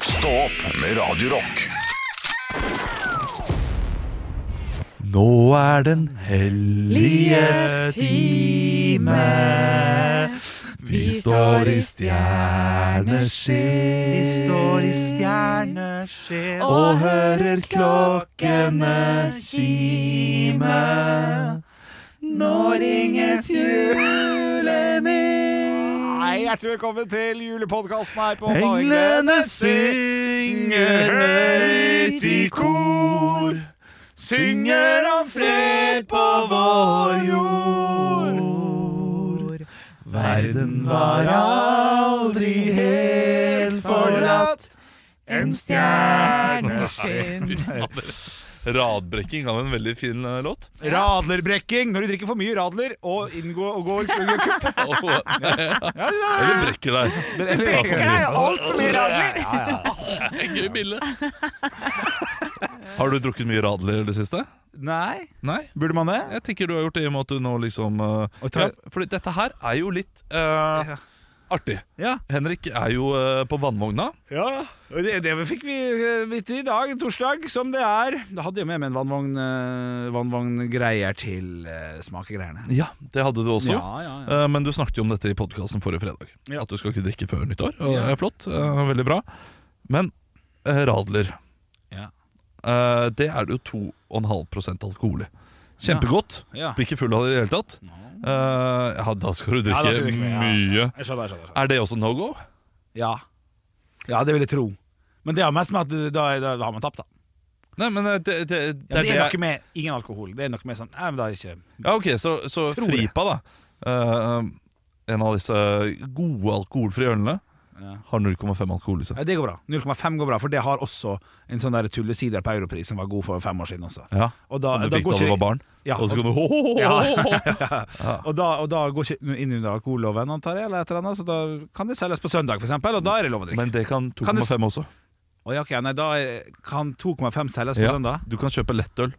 Stå opp med Radio Rock. Nå er den hellige time. Vi står i stjerneskinn. Vi står i stjerneskinn og hører klokkene kime. Nå ringes julen inn. Hei, hjertelig velkommen til julepodkasten her på Englene synger høyt i kor. Synger om fred på vår jord. Verden var aldri helt forlatt. En stjerneskinn. Radbrekking av en veldig fin eh, låt. Radlerbrekking når du drikker for mye radler og inngår og går kupp. Og- Ja, ja, Eller brekker deg. brekker Ja, altfor mye radler. ja, ja. for min. Gøy bilde. Har du drukket mye radler i det siste? Nei, Nei. burde man det? Jeg tenker du har gjort det i og med at du nå liksom eh, Og tar- ja, Fordi dette her er jo litt eh, artig. Ja. Henrik er jo eh, på vannvogna. ja. og Det, det fikk vi eh, vite i dag, torsdag, som det er. Da hadde jeg med meg en vannvogn, eh, vannvogngreier til eh, smakegreiene. Ja, det hadde du også. ja, Eh, Men du snakket jo om dette i podkasten forrige fredag. Ja. At du skal ikke drikke før nyttår. Og det Ja. er flott. eh, Veldig bra. Men eh, radler Ja. eh, Det er det jo 2,5 alkohol i. Kjempegodt. Ja. Blir ikke full av det i det hele tatt. Eh, ja, da skal du drikke Ja, da skal du drikke mye, mye. Jeg skjønner, jeg skjønner. Er det også no go? Ja. ja, det vil jeg tro. Men det har mest med at eh, da, da, da har man tapt, da. Nei, men eh, det, det, Ja, det det er jeg- noe med ingen alkohol. Det er noe med sånn Nei, men da er ikke Ja, ok, så, så Tror det. Fripa da eh, En av disse gode alkoholfrie ølene Ja. Har 0,5 alkohol i seg Nei, Det går bra. 0,5 går bra, for det har også en sånn der tullesider på europris som var god for fem år siden også. ja, Og da- Som du da fikk går da du ikke- var barn Ja, Og så kan og, du ho, ho, ho, ho, ho. og, da, og da går ikke inn under alkoholloven, antar jeg, eller et eller annet, så da kan det selges på søndag, for eksempel, og da er det lov å drikke. Men det kan Kan du s- 2,5 også Å, ja, ok, nei, da er- kan 2,5 selges på Ja. søndag? Du kan kjøpe lettøl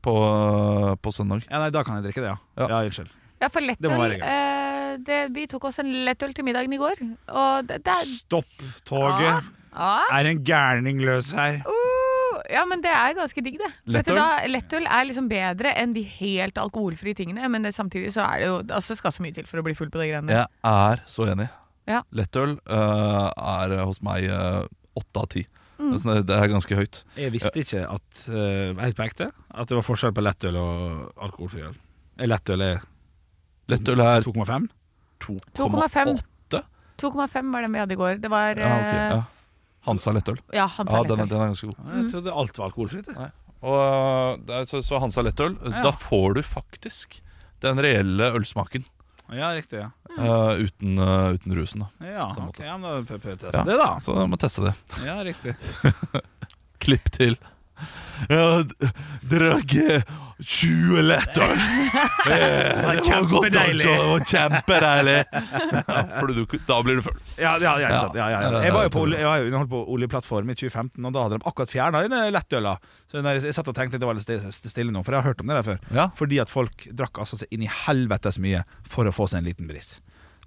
på, på søndag Ja, nei, da kan jeg drikke det, ja. Ja. Ja, unnskyld. Ja, for Det må lettøl være eh, det- Vi tok oss en lettøl til middagen i går, og det, det er Stopp toget. ah, Er en gærning løs her? uh, Ja, men det er ganske digg, det. For vet du Lettøl? da, Lettøl er liksom bedre enn de helt alkoholfrie tingene, men det, samtidig så er det jo Altså, det skal så mye til for å bli full på de Mm. greiene der. Jeg er så enig Ja. Lettøl eh, er hos meg eh, 8 av 10 Mm. Men sånn, Det er ganske høyt Jeg visste ikke at eh, Helt på ekte At det var forskjell på lettøl og alkoholfri øl. Eh, Lettøl er Lettøl er 2,5. 2,8 2,5 var den vi hadde i går. Det var ja, ok, ja. Hansa lettøl eh, ja han sa Ja, den er, eh, lettøl. den er ganske god Jeg trodde alt var alkoholfritt. jeg. Og det er, så, så Hansa lettøl, Ja. da får du faktisk den reelle ølsmaken Ja, riktig. Ja, eh, uten, eh, uten rusen. Da. ja Samme ok. måte. Ja, men da prøver vi å Ja. teste det, da. Så jeg må teste det. Ja, riktig. Klipp til. Ja, d- drakk eh, 20 lettøl! Eh, Det var det var godt, kjempedeilig. altså. Det var kjempedeilig! Ja, fordi du, da blir du full. Ja, ja, ja, ikke sant. ja, ja, ja. Ja, Jeg var jo det på, er olje- jeg har jo underholdt på oljeplattform i 2015, og da hadde de akkurat fjerna den lettøla. Så når jeg, jeg satt og tenkte det var litt sti- stille nå, for jeg har hørt om det der før. Ja. Fordi at folk drakk altså seg inn i helvetes mye for å få seg en liten bris.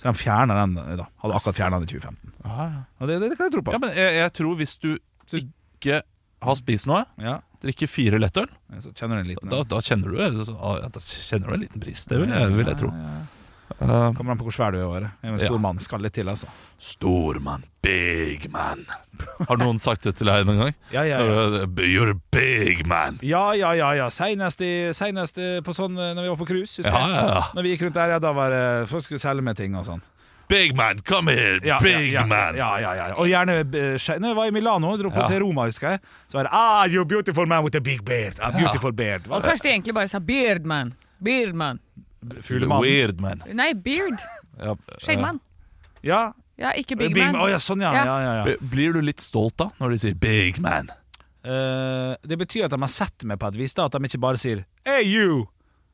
Så de fjerna den eh, da. Hadde akkurat fjerna den i 2015. Og det, det, det kan jeg tro på. Ja, men jeg, jeg tror hvis du ikke har spist noe, Ja. drikker fire lettøl, Så kjenner du en liten da, da, kjenner du, eh, så- ah, ja, da kjenner du en liten bris. Det vil jeg, vil jeg tro. Ja, ja. Eh, Kommer an på hvor svær du er. Åre. Jeg er en Ja. stor mann. Skal litt til, altså. Stormann, big man. Har noen sagt det til deg noen gang? Ja, ja, ja. Uh, You're a big man. Ja, ja, ja. ja. Seinest, i, seinest i- på sånn eh, når vi var på cruise. husker Ja, jeg. ja, ja. Når vi gikk rundt der, ja, da var det folk skulle selge med ting og sånn. Big man, come here, Ja, big ja, ja, man. Ja, ja, ja. Og gjerne eh, skje- Når jeg var i Milano, dro på Ja. til Roma, husker jeg, så var det Ah, you beautiful man with a big beard. A beautiful beard. Og kanskje de egentlig bare sa Beardman. Beardman. He's a Fuglemann. Weird man. Nei, Beard. Ja, Skjeggmann. Ja. Ja, ikke Big, Big man. Å Man. ja, sånn, ja. Ja. ja, ja, eh, ja. b- Blir du litt stolt da, når de sier big man? Eh, det betyr at de har sett meg på et vis, da, at de ikke bare sier Hey, you!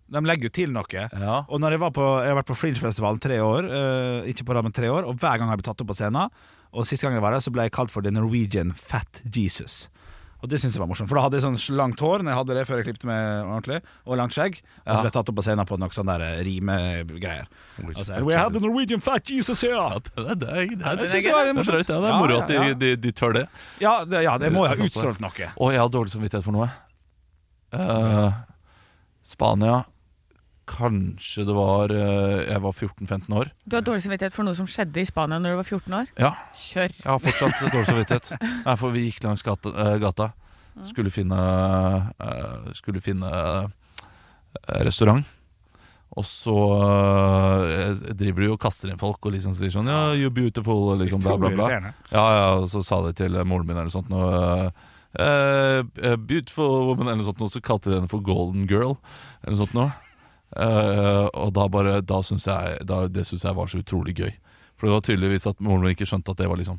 De legger jo til noe. Ja. Og når jeg, var på, jeg har vært på Fringe-festivalen tre år, eh, ikke på rad, men tre år, og hver gang har jeg blitt tatt opp på scenen. Og sist gang jeg var der, så ble jeg kalt for The Norwegian Fat Jesus. Og Og det syns jeg var morsomt. For da hadde jeg sånn langt hår Når jeg hadde det før jeg klippet meg ordentlig, og langt skjegg. Og så Ja. ble jeg tatt opp på scenen på noen sånne der rimegreier. Norwegian Altså, Fat We had the Jesus. Norwegian fat Jesus Ja, here! det er deg. Det er det synes jeg var Det er drøyt, ja. Det Ja, er moro ja, at de, ja. de, de tør det. Ja, det, ja, det må jo ha utsolgt noe. Å, jeg har dårlig samvittighet for noe. Eh, Spania Kanskje det var eh, Jeg var 14-15 år. Du har dårlig samvittighet for noe som skjedde i Spania når du var 14 år? Ja, Kjør. jeg har fortsatt dårlig samvittighet. Nei, for vi gikk langs gata. eh, gata. Skulle finne eh, Skulle finne eh, restaurant. Og så eh, driver du og kaster inn folk og liksom sier sånn Ja, you're beautiful, og liksom bla, bla, bla. Irriterende. Ja, ja, og så sa de til moren min eller noe sånt noe eh, eh, Beautiful woman eller noe sånt noe, så kalte de henne for golden girl eller noe sånt noe. Eh, og da bare, da synes jeg, da, det synes jeg var så utrolig gøy. For det var tydeligvis at moren min ikke skjønte at det var liksom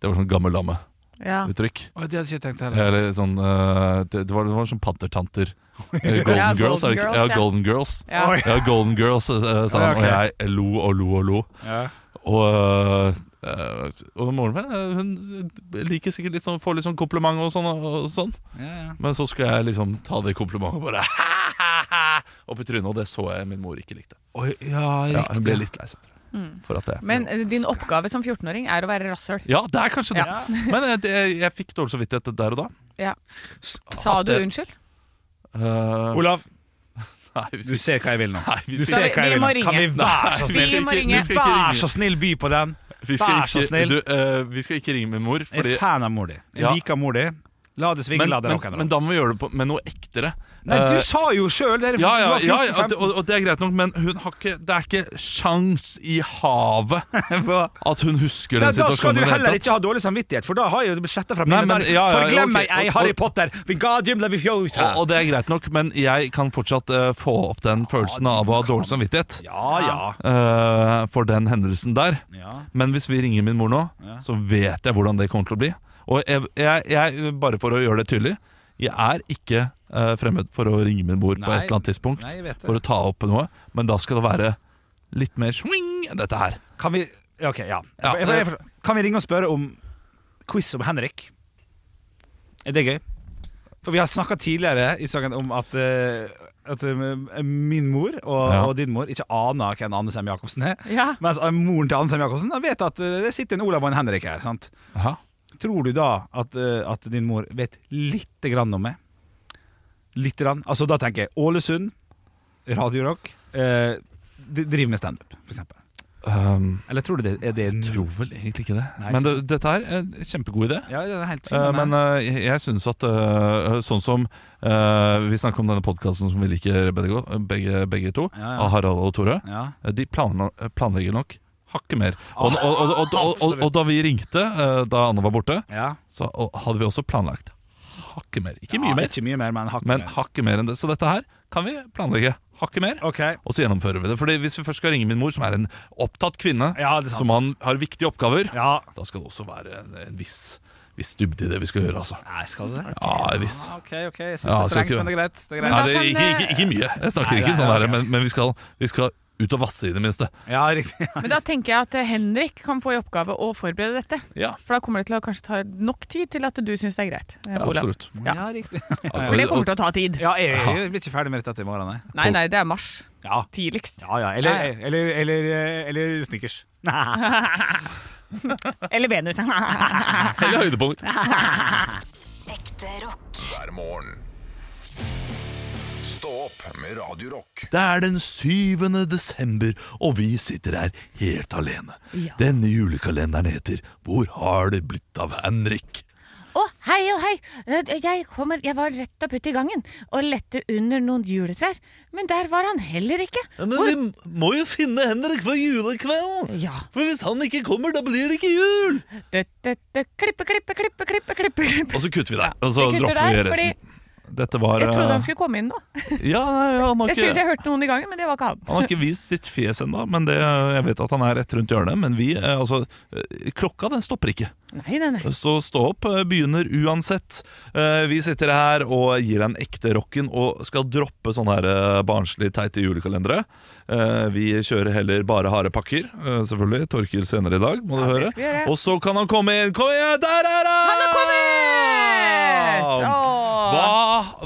Det var sånn gammel dame-uttrykk. Ja. Å, det hadde jeg ikke tenkt heller. Eller sånn eh, det, det, var, det var sånn pantertanter. Eh, golden Ja, girls, er det Golden ikke? Girls, Ja, golden girls. ja. Ja. Oi. Ja, golden girls, eh, sa Ja, han. ok. Og jeg lo og lo og lo. Ja. Og, øh, øh, og moren min øh, Hun liker sikkert litt sånn får litt sånn kompliment og sånn, og sånn. Ja, ja. Men så skulle jeg liksom ta det komplimentet og bare opp i trynet, og det så jeg min mor ikke likte. Oi, ja, Ja, hun ble riktig. Mm. litt lei seg, tror jeg. For at det Men eh, din oppgave som 14-åring er å være rasshøl. Ja, det er kanskje det. Ja. Men jeg, det, jeg fikk dårlig samvittighet der og da. Ja. Sa du unnskyld? Øh, Olav, nei, vi du skal, ser hva jeg vil nå. nei, vi Du skal, Skal ser vi- hva jeg vi vil nå. må Kan vi ringe. være så Vi snill? må ikke- ringe. vi skal ikke Vær så ringe. snill, by på den! Vi skal vær så ikke, snill. du, øh, vi skal ikke ringe min mor, Jeg fordi er fan av mor di. Jeg Ja. liker mor di. La det svinge, men, la det men, rock'n'roll. men da må vi gjøre det på, med noe ektere. Nei, Eh, du sa jo sjøl det! er- Ja, ja, du ja, var ja og, 14-15. og det er greit nok, men hun har ikke, det er ikke sjans i havet at hun husker Nei, den da skal situasjonen. du i det hele heller tatt. ikke ha dårlig samvittighet, for da har jeg jo det sletta fra Nei, mine men- der. ja, ja, For glem ok, meg ei, og- Harry og- Potter! Vi ga Jim Levi Fjota! Og, og det er greit nok, men jeg kan fortsatt eh, få opp den følelsen av å ha dårlig samvittighet Ja, ja. eh, for den hendelsen der. ja. Men hvis vi ringer min mor nå, Ja. så vet jeg hvordan det kommer til å bli. Og jeg, jeg, jeg, bare for å gjøre det tydelig, jeg er ikke eh, fremmed for å ringe min mor på Nei, et eller annet tidspunkt Nei, jeg vet for å det. ta opp noe, men da skal det være litt mer swing enn dette her. Kan vi ja, Ok, ja. Ja, Jeg, jeg, jeg, kan vi ringe og spørre om quiz om Henrik? Er det gøy? For vi har snakka tidligere i saken om at, eh, at eh, min mor og, Ja. og din mor ikke aner hvem Anne Sem Jacobsen er. Ja. Mens eh, moren til Anne Sem Jacobsen da vet at eh, det sitter en Olav og en Henrik her. sant? Aha. Tror du da at, eh, at din mor vet lite grann om meg? Lite grann? Altså, da tenker jeg Ålesund, Radio Rock, eh, de- driver med standup, for eksempel. Um, Eller tror du det er det Tror vel egentlig ikke det. Nei, men det, ikke dette her er en kjempegod idé. Ja, det er helt Eh, fint. men eh, jeg- jeg syns at eh, sånn som eh, Vi snakker om denne podkasten som vi liker begge, go- begge, begge to, Ja, ja. av Harald og Tore. ja. Eh, De planla- planlegger nok hakket mer. Og, og, og, og, og, og, og da vi ringte, eh, da Anne var borte, Ja. så og, hadde vi også planlagt hakket mer. Ikke mye ja, mer, Ikke mye mer, men hakket men mer. hakket mer enn det. Så dette her kan vi planlegge hakket mer. Ok. Og så gjennomfører vi det. Fordi Hvis vi først skal ringe min mor, som er en opptatt kvinne, Ja, det er sant. som han har viktige oppgaver, Ja. da skal det også være en, en viss, viss dybde i det vi skal gjøre, altså. Nei, skal du det? Ja, en viss. Ah, Ok, ok. Jeg syns Ja, det er skal strengt, ikke- men det er greit. Det er Nei, greit. da det, kan, eh, ikke, ikke, ikke mye. Jeg snakker Nei, ikke nei, sånn her, ok. men, men vi, skal, vi skal ut og vasse i det minste. Ja, riktig. Men da tenker jeg at eh, Henrik kan få i oppgave å forberede dette. Ja, For da kommer det til å kanskje ta nok tid til at du syns det er greit. eh, Olav. absolutt. Ja. Ja, riktig. For det kommer til å ta tid. Ja, jeg, jeg, blir ikke ferdig med dette i morgen, nei. Nei, nei, det er mars. Ja. Tidligst. Ja, ja. Eller, Ja, eller, eller, eh, eller snickers. Nei. Eller Venus. Eller høydepunkt. Ekte rock. hver morgen. Stå opp med Radio Rock. Det er den 7. desember, og vi sitter her helt alene. Ja. Denne julekalenderen heter Hvor har det blitt av Henrik? Å, hei og hei. Eh, Jeg, kommer, jeg var rett opp ute i gangen og lette under noen juletrær, men der var han heller ikke. Hvor, vi må jo finne Henrik for julekvelden! ja. For hvis han ikke kommer, da blir det ikke jul! Dø, dø, dø, klippe, klippe, klippe, klippe, klippe. klippe. Og så kutter vi der, Ja, og så vi kutter dropper vi der, fordi- resten. Dette var Jeg trodde eh, han skulle komme inn nå. Ja, nei, han har Jeg syns ikke, jeg hørte noen i gangen, men det var ikke han har han. ikke vist sitt fjes ennå, men det, jeg vet at han er rett rundt hjørnet. Men vi, eh, altså, eh, klokka den stopper ikke. Nei, nei, nei. Så stå opp eh, begynner uansett. Eh, Vi sitter her og gir deg en ekte rocken og skal droppe sånne her eh, barnslig teite julekalendere. Eh, Vi kjører heller bare harde pakker, eh, selvfølgelig. Torkil senere i dag, må du det høre. skal vi gjøre. Og så kan han komme inn. Kom igjen, der er han! Han er kommet!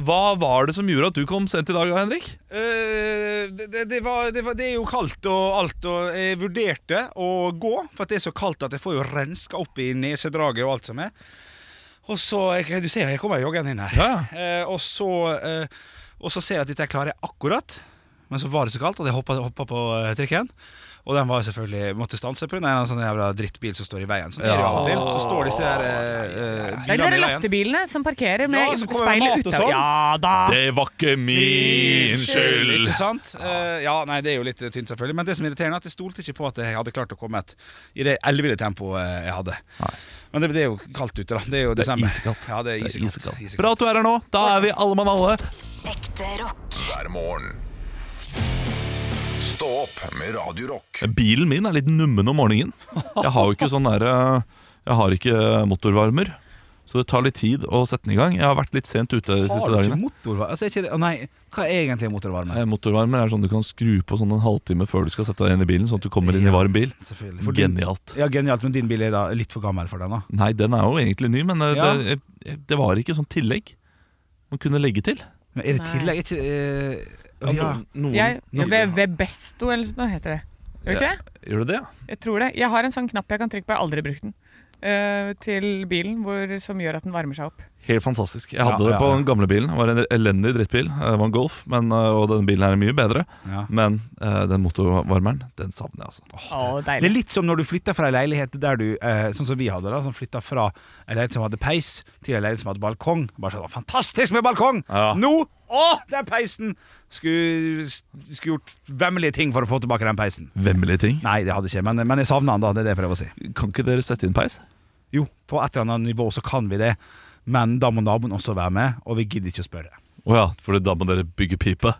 hva var det som gjorde at du kom sent i dag, Henrik? Eh, det, det- det, var, det, var, det er jo kaldt og alt, og jeg vurderte å gå, for at det er så kaldt at jeg får jo renska opp i nesedraget og alt som er. Og så, jeg, Du ser jeg kommer joggende inn her. Ja. Eh, og, så, eh, og så ser jeg at dette klarer jeg akkurat, men så var det så kaldt at jeg hoppa, hoppa på eh, trikken. Og den var jeg selvfølgelig måtte stanse pga. en sånn jævla drittbil som står i veien. Så, det er det jo av og til. så står disse her eh, eh, Eller bilene i veien. lastebilene som parkerer med Ja, som kommer med speilet mat og utafor. sånn. Ja da! Det var ikke min skyld! Ikke sant? Eh, ja, nei, det er jo litt eh, tynt, selvfølgelig. Men det som er irriterende, er at jeg stolte ikke på at jeg hadde klart å komme et i det elleville tempoet eh, jeg hadde. Men det, det er jo kaldt ute, da. Det er jo desember. iskaldt. Ja, det er iskaldt. Iskaldt. Bra at du er her nå. Da er vi alle mann alle. Ekte rock. hver morgen. Stå opp med Radio Rock. Bilen min er litt nummen om morgenen. Jeg har jo ikke sånn der, eh, Jeg har ikke motorvarmer, så det tar litt tid å sette den i gang. Jeg har vært litt sent ute de siste Har du ikke dagene. motorvarme? Altså, er ikke det, å nei, hva er egentlig motorvarme? Eh, Motorvarmer er sånn du kan skru på sånn en halvtime før du skal sette deg inn i bilen, sånn at du kommer inn i varm bil. Selvfølgelig. For din, Genialt. ja, genialt, men din bil er da litt for gammel for den, da. Nei, den er jo egentlig ny, men eh, Ja. det, eh, det var ikke sånn tillegg man kunne legge til. Men er det Nei. tillegg? Er ikke, eh, ja. noen, Jeg, ved, ved Besto eller sånn heter det. Gjør det ikke det? Gjør du det? Jeg tror det. Jeg har en sånn knapp jeg kan trykke på, jeg har aldri brukt den. eh, til bilen hvor, som gjør at den varmer seg opp. Helt fantastisk. Jeg Ja, hadde det ja, på ja. den gamle bilen. Det var en elendig drittbil. Det var en Golf, men, eh, og denne bilen her er mye bedre. Ja. Men eh, den motorvarmeren, den savner jeg, altså. Å, Det deilig. er litt som når du flytter fra ei leilighet der du eh, Sånn som vi hadde, da. Som flytta fra ei leilighet som hadde peis, til ei leilighet som hadde balkong. Bare sånn, Fantastisk med balkong! Ja. Nå! Å, der peisen! Skulle, skulle gjort vemmelige ting for å få tilbake den peisen. Vemmelige ting. Nei, det hadde ikke jeg, men, men jeg savna den, da. Det er det jeg prøver å si. Kan ikke dere sette inn peis? Jo, på et eller annet nivå så kan vi det, men da må naboen også være med, og vi gidder ikke å spørre. Å ja, for da må dere bygge pipe.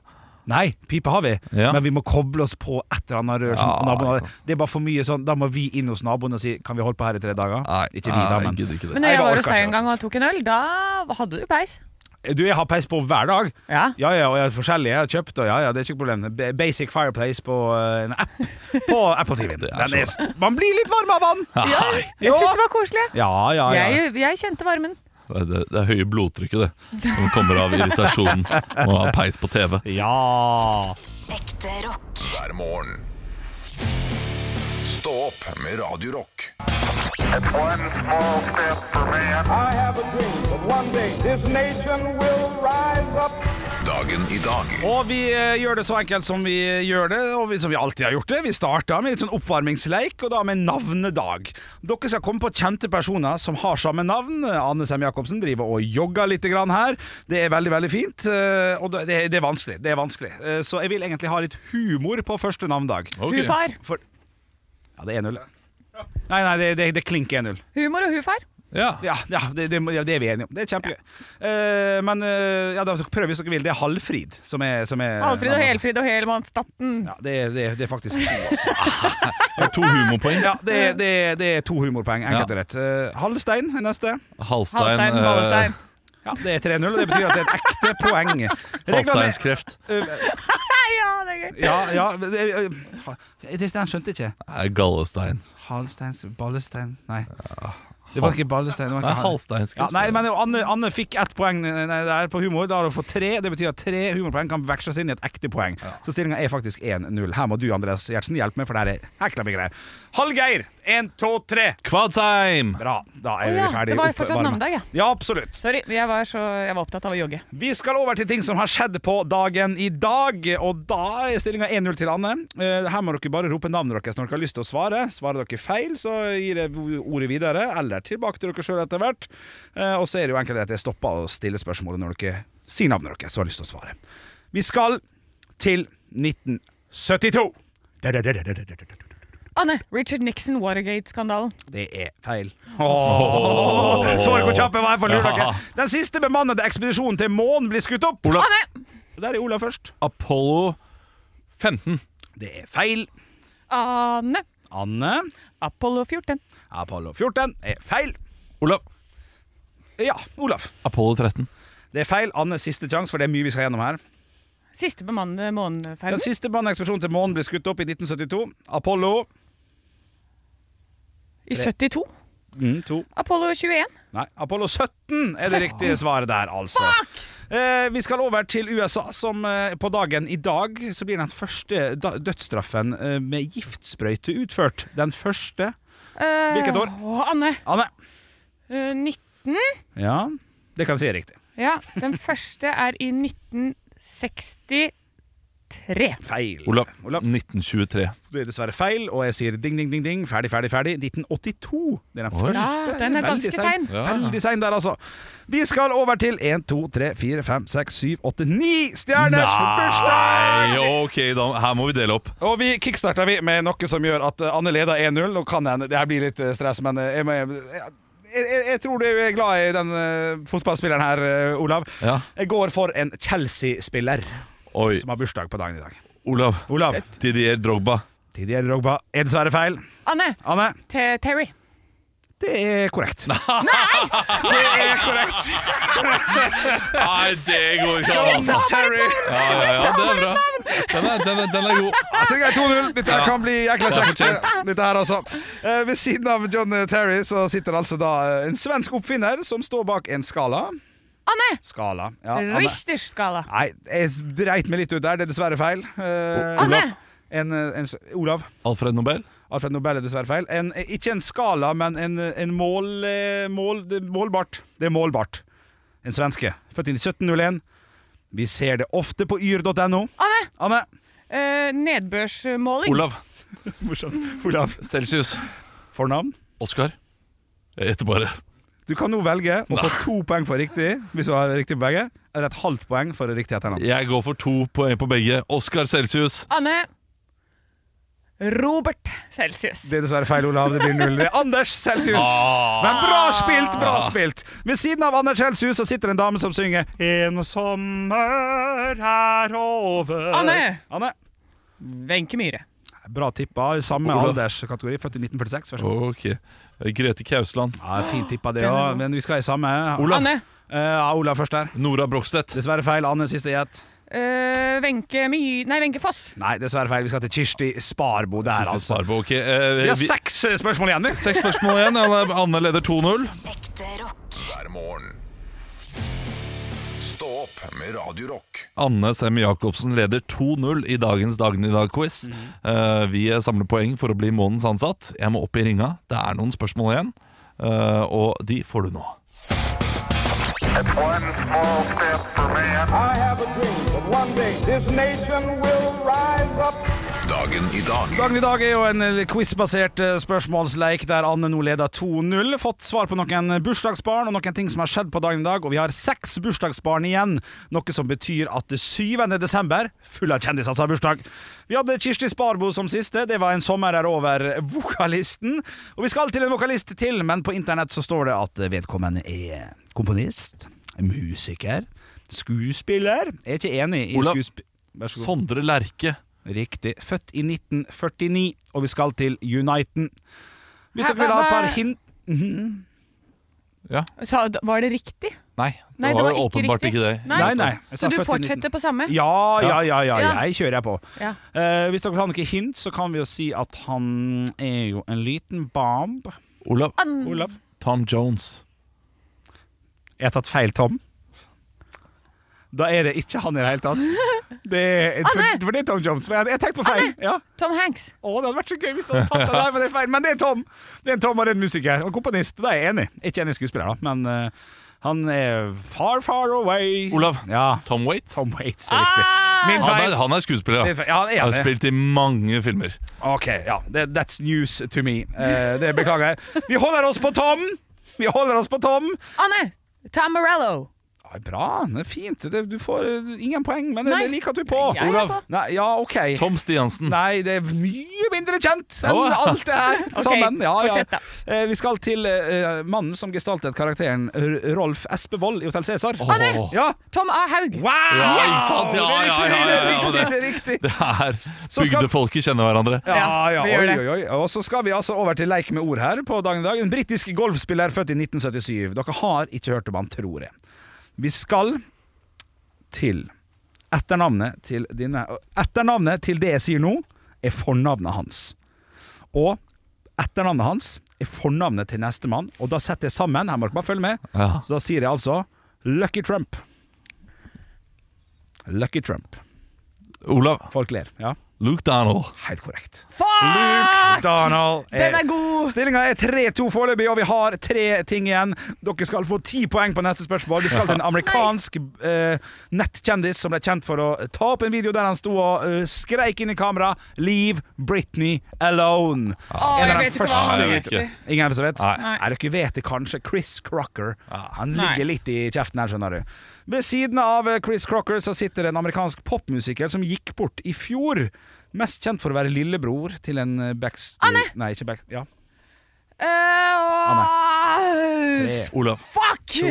Nei, pipe har vi, Ja. men vi må koble oss på et eller annet rør. Som Ja, naboen har. Det er bare for mye sånn, Da må vi inn hos naboen og si 'Kan vi holde på her i tre dager?' ikke vi, da, nei, men jeg gidder ikke det. Men når Nei, jeg det var orker hos deg ikke. en gang og tok en øl, da hadde du peis. Eh, Du, jeg har peis på hver dag. Ja. Ja, ja, og jeg er forskjellig. Jeg har kjøpt, og ja, ja, det er ikke noe problem. B- Basic Fireplace på eh, en app på Apple TV. Det er Den er, man blir litt varm av den! ja jeg syns det var koselig. Ja, ja, ja. Jeg, jeg kjente varmen. Nei, Det, det er høye blodtrykket, det. Som kommer av irritasjonen og av peis på TV. Ja. Ekte rock. hver morgen. Stå opp med Radio Rock. I have a dream that one day this nation will rise up. Dagen i dag Og vi eh, gjør det så enkelt som vi gjør det, og vi, som vi alltid har gjort det. Vi starta med litt sånn oppvarmingsleik, og da med navnedag. Dere skal komme på kjente personer som har samme navn. Anne Sem Jacobsen driver og jogger litt grann her. Det er veldig, veldig fint. eh, Og det, det er vanskelig. Det er vanskelig. Eh, Så jeg vil egentlig ha litt humor på første navnedag. Hufar. For Ja, det er 1-0. Nei, nei, det, det, det klinker 1-0. Humor og hufar. Ja. Ja, ja det, det, ja, det er vi enige om. Det er kjempegøy. Eh, men eh, ja, da prøv hvis dere vil. Det er Halvfrid som er, som er Alfrid og Helfrid og Helmannsdatten. Ja, det, er- det, er- det er faktisk to, altså. Det er to humorpoeng. Ja, det, er- det, er- det er to humorpoeng. Enkelt og rett. Eh, Halvstein er neste. Halstein. Halstein, eh, Ballestein. Ja, det er 3-0, og det betyr at det er et ekte poeng. Reglene- Halsteinskreft. Ja, det er gøy. Ja, ja det, eh, ha- det- Den skjønte jeg ikke. Nei, Gallestein. Halvsteins Ballestein Nei. Det var ikke Ballestein. Det var Nei, ikke Hal- Ja, halsteinskreft. nei, men Anne, Anne fikk ett poeng eh, nei, der på humor. Da har hun fått tre. Det betyr at tre humorpoeng kan veksles inn i et ekte poeng. Så stillinga er faktisk 1-0. Her må du, Andreas Gjertsen, hjelpe meg, for det her er hekla mye greier. Hallgeir! Én, to, tre. Kvadsheim! Bra. Da er Å vi ja, det ferdig. var Opp- fortsatt varme. navnedag, ja. Ja, absolutt. Sorry, jeg var, så, jeg var opptatt av å jogge. Vi skal over til ting som har skjedd på dagen i dag. Og da er stillinga 1-0 til Anne. Eh, Her må dere bare rope navnet deres når dere har lyst til å svare. Svarer dere feil, så gir jeg ordet videre, eller tilbake til dere sjøl etter hvert. Eh, Og så er det jo enkelt at jeg stopper å stille spørsmålet når dere sier navnet deres og har lyst til å svare. Vi skal til 1972. Anne, Richard Nixon, Watergate-skandalen. Det er feil. Åh. Så dere hvor kjapp jeg var på å lure dere? Den siste bemannede ekspedisjonen til månen blir skutt opp. Anne! Der er Olav først. Apollo 15. Det er feil. Anne. Anne. Apollo 14. Apollo 14 er feil. Olav. Ja, Olaf. Apollo 13. Det er feil. Anne, siste sjanse, for det er mye vi skal gjennom her. Siste bemannede Den måneferden. siste manneekspedisjonen til månen ble skutt opp i 1972. Apollo I 72. Mm, to. Apollo 21. Nei, Apollo 17 er det riktige svaret der, altså. Eh, vi skal over til USA, som eh, på dagen i dag så blir den første da dødsstraffen eh, med giftsprøyte utført. Den første. Eh, Hvilket år? Å, Anne. Anne. Eh, 19. Ja, det kan jeg si er riktig. Ja, den første er i 1963. Feil. Olav, Olav. 1923. Det er dessverre feil, og jeg sier ding, ding, ding, ding. Ferdig, ferdig, ferdig. 1982. Det er Oi. den første. Ja, Ah, den er Veldig ganske sein. Ja. Veldig sein der, altså. Vi skal over til 1, 2, 3, 4, 5, 6, 7, 8, 9 stjerners bursdag! Nei, ok, da, her må vi dele opp. Og vi kickstarter vi med noe som gjør at eh, Anne leder 1-0. Nå kan jeg, det her blir litt eh, stress, men eh, jeg, må- jeg, jeg, jeg tror du er glad i den eh, fotballspilleren her, eh, Olav. Ja. Jeg går for en Chelsea-spiller Oi, som har bursdag på dagen i dag. Olav. Olav. Didier Drogba. Tidligere Drogba er dessverre feil. Anne. Anne, Te- Terry. det er korrekt. Nei, det går ikke an! altså. Terry. Ja, ja, ja, det er bra. Den er, den er, den er god. Stillinga er 2-0. Dette her Ja. kan bli jækla Det er kjekt. Dette her altså. Eh, Ved siden av John eh, Terry så sitter altså da eh, en svensk oppfinner som står bak en skala. Anne. Skala. Ja, Anne. Richterskala. Nei, jeg dreit meg litt ut der. Det er dessverre feil. Eh, Anne. En, eh, en, s- Olav. Alfred Nobel. Alfred Nobel er dessverre feil. En, eh, ikke en skala, men en, eh, en mål, eh, mål det, er Målbart. Det er målbart. En svenske. Født inn i 1701. Vi ser det ofte på yr.no. Anne. Anne. Eh, nedbørsmåling. Olav. Morsomt. Olav. Celsius. Fornavn? Oskar. Jeg gjetter bare. Du kan nå velge å få to poeng for riktig, hvis du har riktig på begge, eller et halvt poeng for riktig etternavn. Jeg går for to poeng på begge. Oskar Celsius. Anne. Robert Celsius. Det er dessverre feil, Olav. Det blir null. Det er Anders Celsius. Men bra spilt, bra spilt! Ved siden av Anders Celsius så sitter en dame som synger En sommer er over. Anne. Anne. Wenche Myhre. Bra tippa. i Samme Olav. alderskategori. Født i 1946. Vær så god. Ok. Grete Kausland. Ja, Fint tippa, det òg. Men vi skal i samme. Olav. Anne. Eh, ja, Olav først der. Nora Brogstedt. Dessverre feil. Anne siste gjett. Eh, Wenche My... Nei, Wenche Foss. Nei, dessverre feil. Vi skal til Kirsti Sparbo der, Siste altså. svar på, ok. Eh, Vi har vi- seks eh, spørsmål igjen, vi. Seks spørsmål igjen. Anne- Anne leder 2-0. Ekte rock. hver morgen. Stå opp med Radio Rock. Anne Sem Jacobsen leder 2-0 i dagens Dagen i dag-quiz. Mhm. Eh, vi samler poeng for å bli månedens ansatt. Jeg må opp i ringa. Det er noen spørsmål igjen, eh, og de får du nå. One small step for man. I have a dream that one day this nation will rise up. Dagen i dag Dagen i dag er jo en eh, quizbasert eh, spørsmålsleik der Anne nå leder 2-0. Fått svar på noen bursdagsbarn og noen ting som har skjedd på dagen i dag. Og vi har seks bursdagsbarn igjen, noe som betyr at det 7. desember, full av kjendiser, som har bursdag. Vi hadde Kirsti Sparbo som siste. Det var en sommer er over-vokalisten. Og vi skal til en vokalist til, men på internett så står det at vedkommende er komponist, musiker, skuespiller. Jeg er ikke enig i Olav. skuesp... Vær så god. Sondre Lerche. Riktig. Født i 1949, og vi skal til Uniten. Hvis dere Hæ, vil ha et hva- par hint Sa, var det riktig? Nei, det Nei, det var, var jo ikke åpenbart riktig. ikke det. Nei. Nei, nei. jeg sa Så du født i 19. fortsetter på samme? Ja, ja, ja, ja, Ja. jeg kjører jeg på. Ja. Eh, hvis dere vil ha noe hint, så kan vi jo si at han er jo en liten bomb. Olav. Olav? Tom Jones. Jeg har tatt feil, Tom. Da er det ikke han i det hele tatt. Det Ah, er, for, for det er Tom Jones. Men jeg, jeg tenkte på feil. Ja. Tom Hanks. Å, det hadde vært så gøy hvis du hadde tatt det der, men det er feil. Men det er Tom! Det er en Tom og det er en musiker. Og komponist. Det er jeg enig i. Ikke enig i skuespiller, da, men eh, han er far, far away. Olav. Ja. Tom Waits. Tom Waits er riktig. Ah! Min Han, feil. er, han er skuespiller, Min ja. feil. Ja, han Han er har enig. spilt i mange filmer. Ok, ja. Det, that's news to me. Eh, det beklager jeg. Vi holder oss på Tom! Vi holder oss på Tom. Anne. Tom Morello. Ja, bra, det er fint. Det, du får eh, ingen poeng, men jeg Nei. liker at du er på. Jeg er Olav. på. Nei, ja, ok. Tom Stiansen. Nei, det er mye mindre kjent enn Åh. alt det her Ok, sammen. Ja, ja. fortsett da. Eh, Vi skal til eh, mannen som gestaltet karakteren R- Rolf Espevold i Hotell Cæsar. Åh. Anne! Ja. Tom A. Haug. Wow! Ja, ikke sant? Ja, ja, ja, ja, ja, det det- er riktig, det er riktig. Det er Så skal- Bygdefolket kjenner hverandre. Ja, ja, vi gjør oi, det. oi, oi. Og så skal vi altså over til leik med ord her på dagen i dag. En britisk golfspiller født i 1977. Dere har ikke hørt om han, tror jeg. Vi skal til etternavnet til dine Etternavnet til det jeg sier nå, er fornavnet hans. Og etternavnet hans er fornavnet til nestemann, og da setter jeg sammen. Her må dere bare følge med. Ja. Så da sier jeg altså Lucky Trump. Lucky Trump. Olav. Folk ler. Ja, Luke Donald. helt korrekt. Fuck! Donald Den er god! Stillinga er 3-2 foreløpig, og vi har tre ting igjen. Dere skal få ti poeng på neste spørsmål. Vi skal til en amerikansk eh, nettkjendis som ble kjent for å ta opp en video der han sto og eh, skreik inn i kamera 'Leave Britney alone'. Å, jeg En av de vet ikke første- hva Nei, han jeg vet heter. ikke. Ingen av dere som vet? Nei. Nei, dere vet det kanskje. Chris Crocker. Han Ah. Nei. ligger litt i kjeften her, skjønner du. Ved siden av eh, Chris Crocker så sitter en amerikansk popmusiker som gikk bort i fjor. Mest kjent for å være lillebror til en backstreet Anne! Nei, ikke back... Ja. Eh, Tre, Olav. Fuck! to,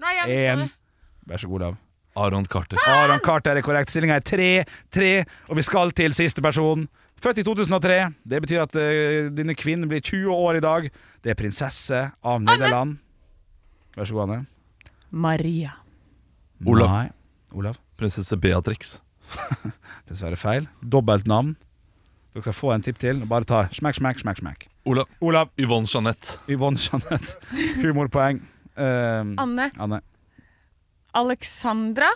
Nei, jeg mistet én. det. Vær så god, Lav. Aron Carter. Aron Carter er korrekt. Stillinga er tre, tre, og vi skal til siste person. Født i 2003. Det betyr at eh, denne kvinnen blir 20 år i dag. Det er prinsesse av Nederland. Vær så god, Anne. Maria. Mm. Olav. Nei. Olav. Prinsesse Beatrix. Dessverre feil. Dobbelt navn. Dere skal få en tipp til. Bare ta smekk, smekk, smekk. smekk. Olav. Olav. Yvonne Jeanette. Yvonne Jeanette. Humorpoeng. Um, Anne. Anne. Alexandra.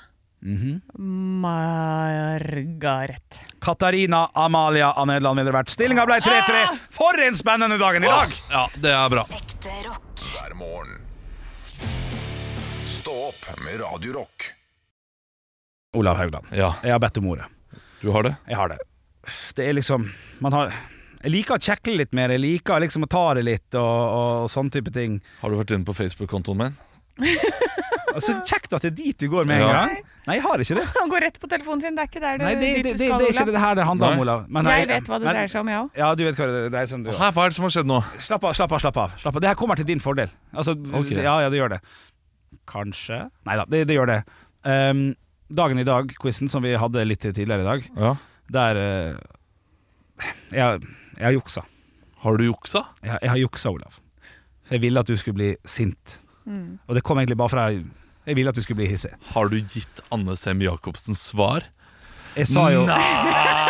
Mhm. Margaret. Katarina Amalia av Nederland ville vært. Stillinga ble Ah! 3-3. For en spennende dagen i dag! Ja, det er bra. Ekte rock. hver morgen. Stå opp med Radio Rock. Olav Haugland, Ja, jeg har bedt om ordet. du har det? Jeg har det. Det er liksom Man har Jeg liker å kjekle litt mer. Jeg liker liksom å ta det litt og, og, og sånn type ting. Har du vært inne på Facebook-kontoen min? Altså, kjekt at det er dit du går med en Ja. gang. Nei, jeg har ikke det. Han går rett på telefonen sin. Det er ikke der du, Nei, det, dit det, du det, skal, det er ikke Olav. det her det handler Nei. om, Olav. Men eh, Jeg vet hva det men- dreier seg om, jeg òg. Ja, du vet hva det dreier seg om, du òg. Hæ, hva er det som har skjedd nå? Slapp av, slapp av, slapp av. Slapp av. Det her kommer til din fordel. Altså, Ok. Ja, ja, det gjør det. Kanskje Nei da, det, det gjør det. Ehm, dagen i dag-quizen som vi hadde litt tidligere i dag, Ja. der eh, jeg, jeg har juksa. Har du juksa? Jeg, jeg har juksa, Olav. Jeg ville at du skulle bli sint. Og det kom egentlig bare fra jeg, jeg ville at du skulle bli hissig. Har du gitt Anne Sem Jacobsen svar? Jeg sa jo Nei!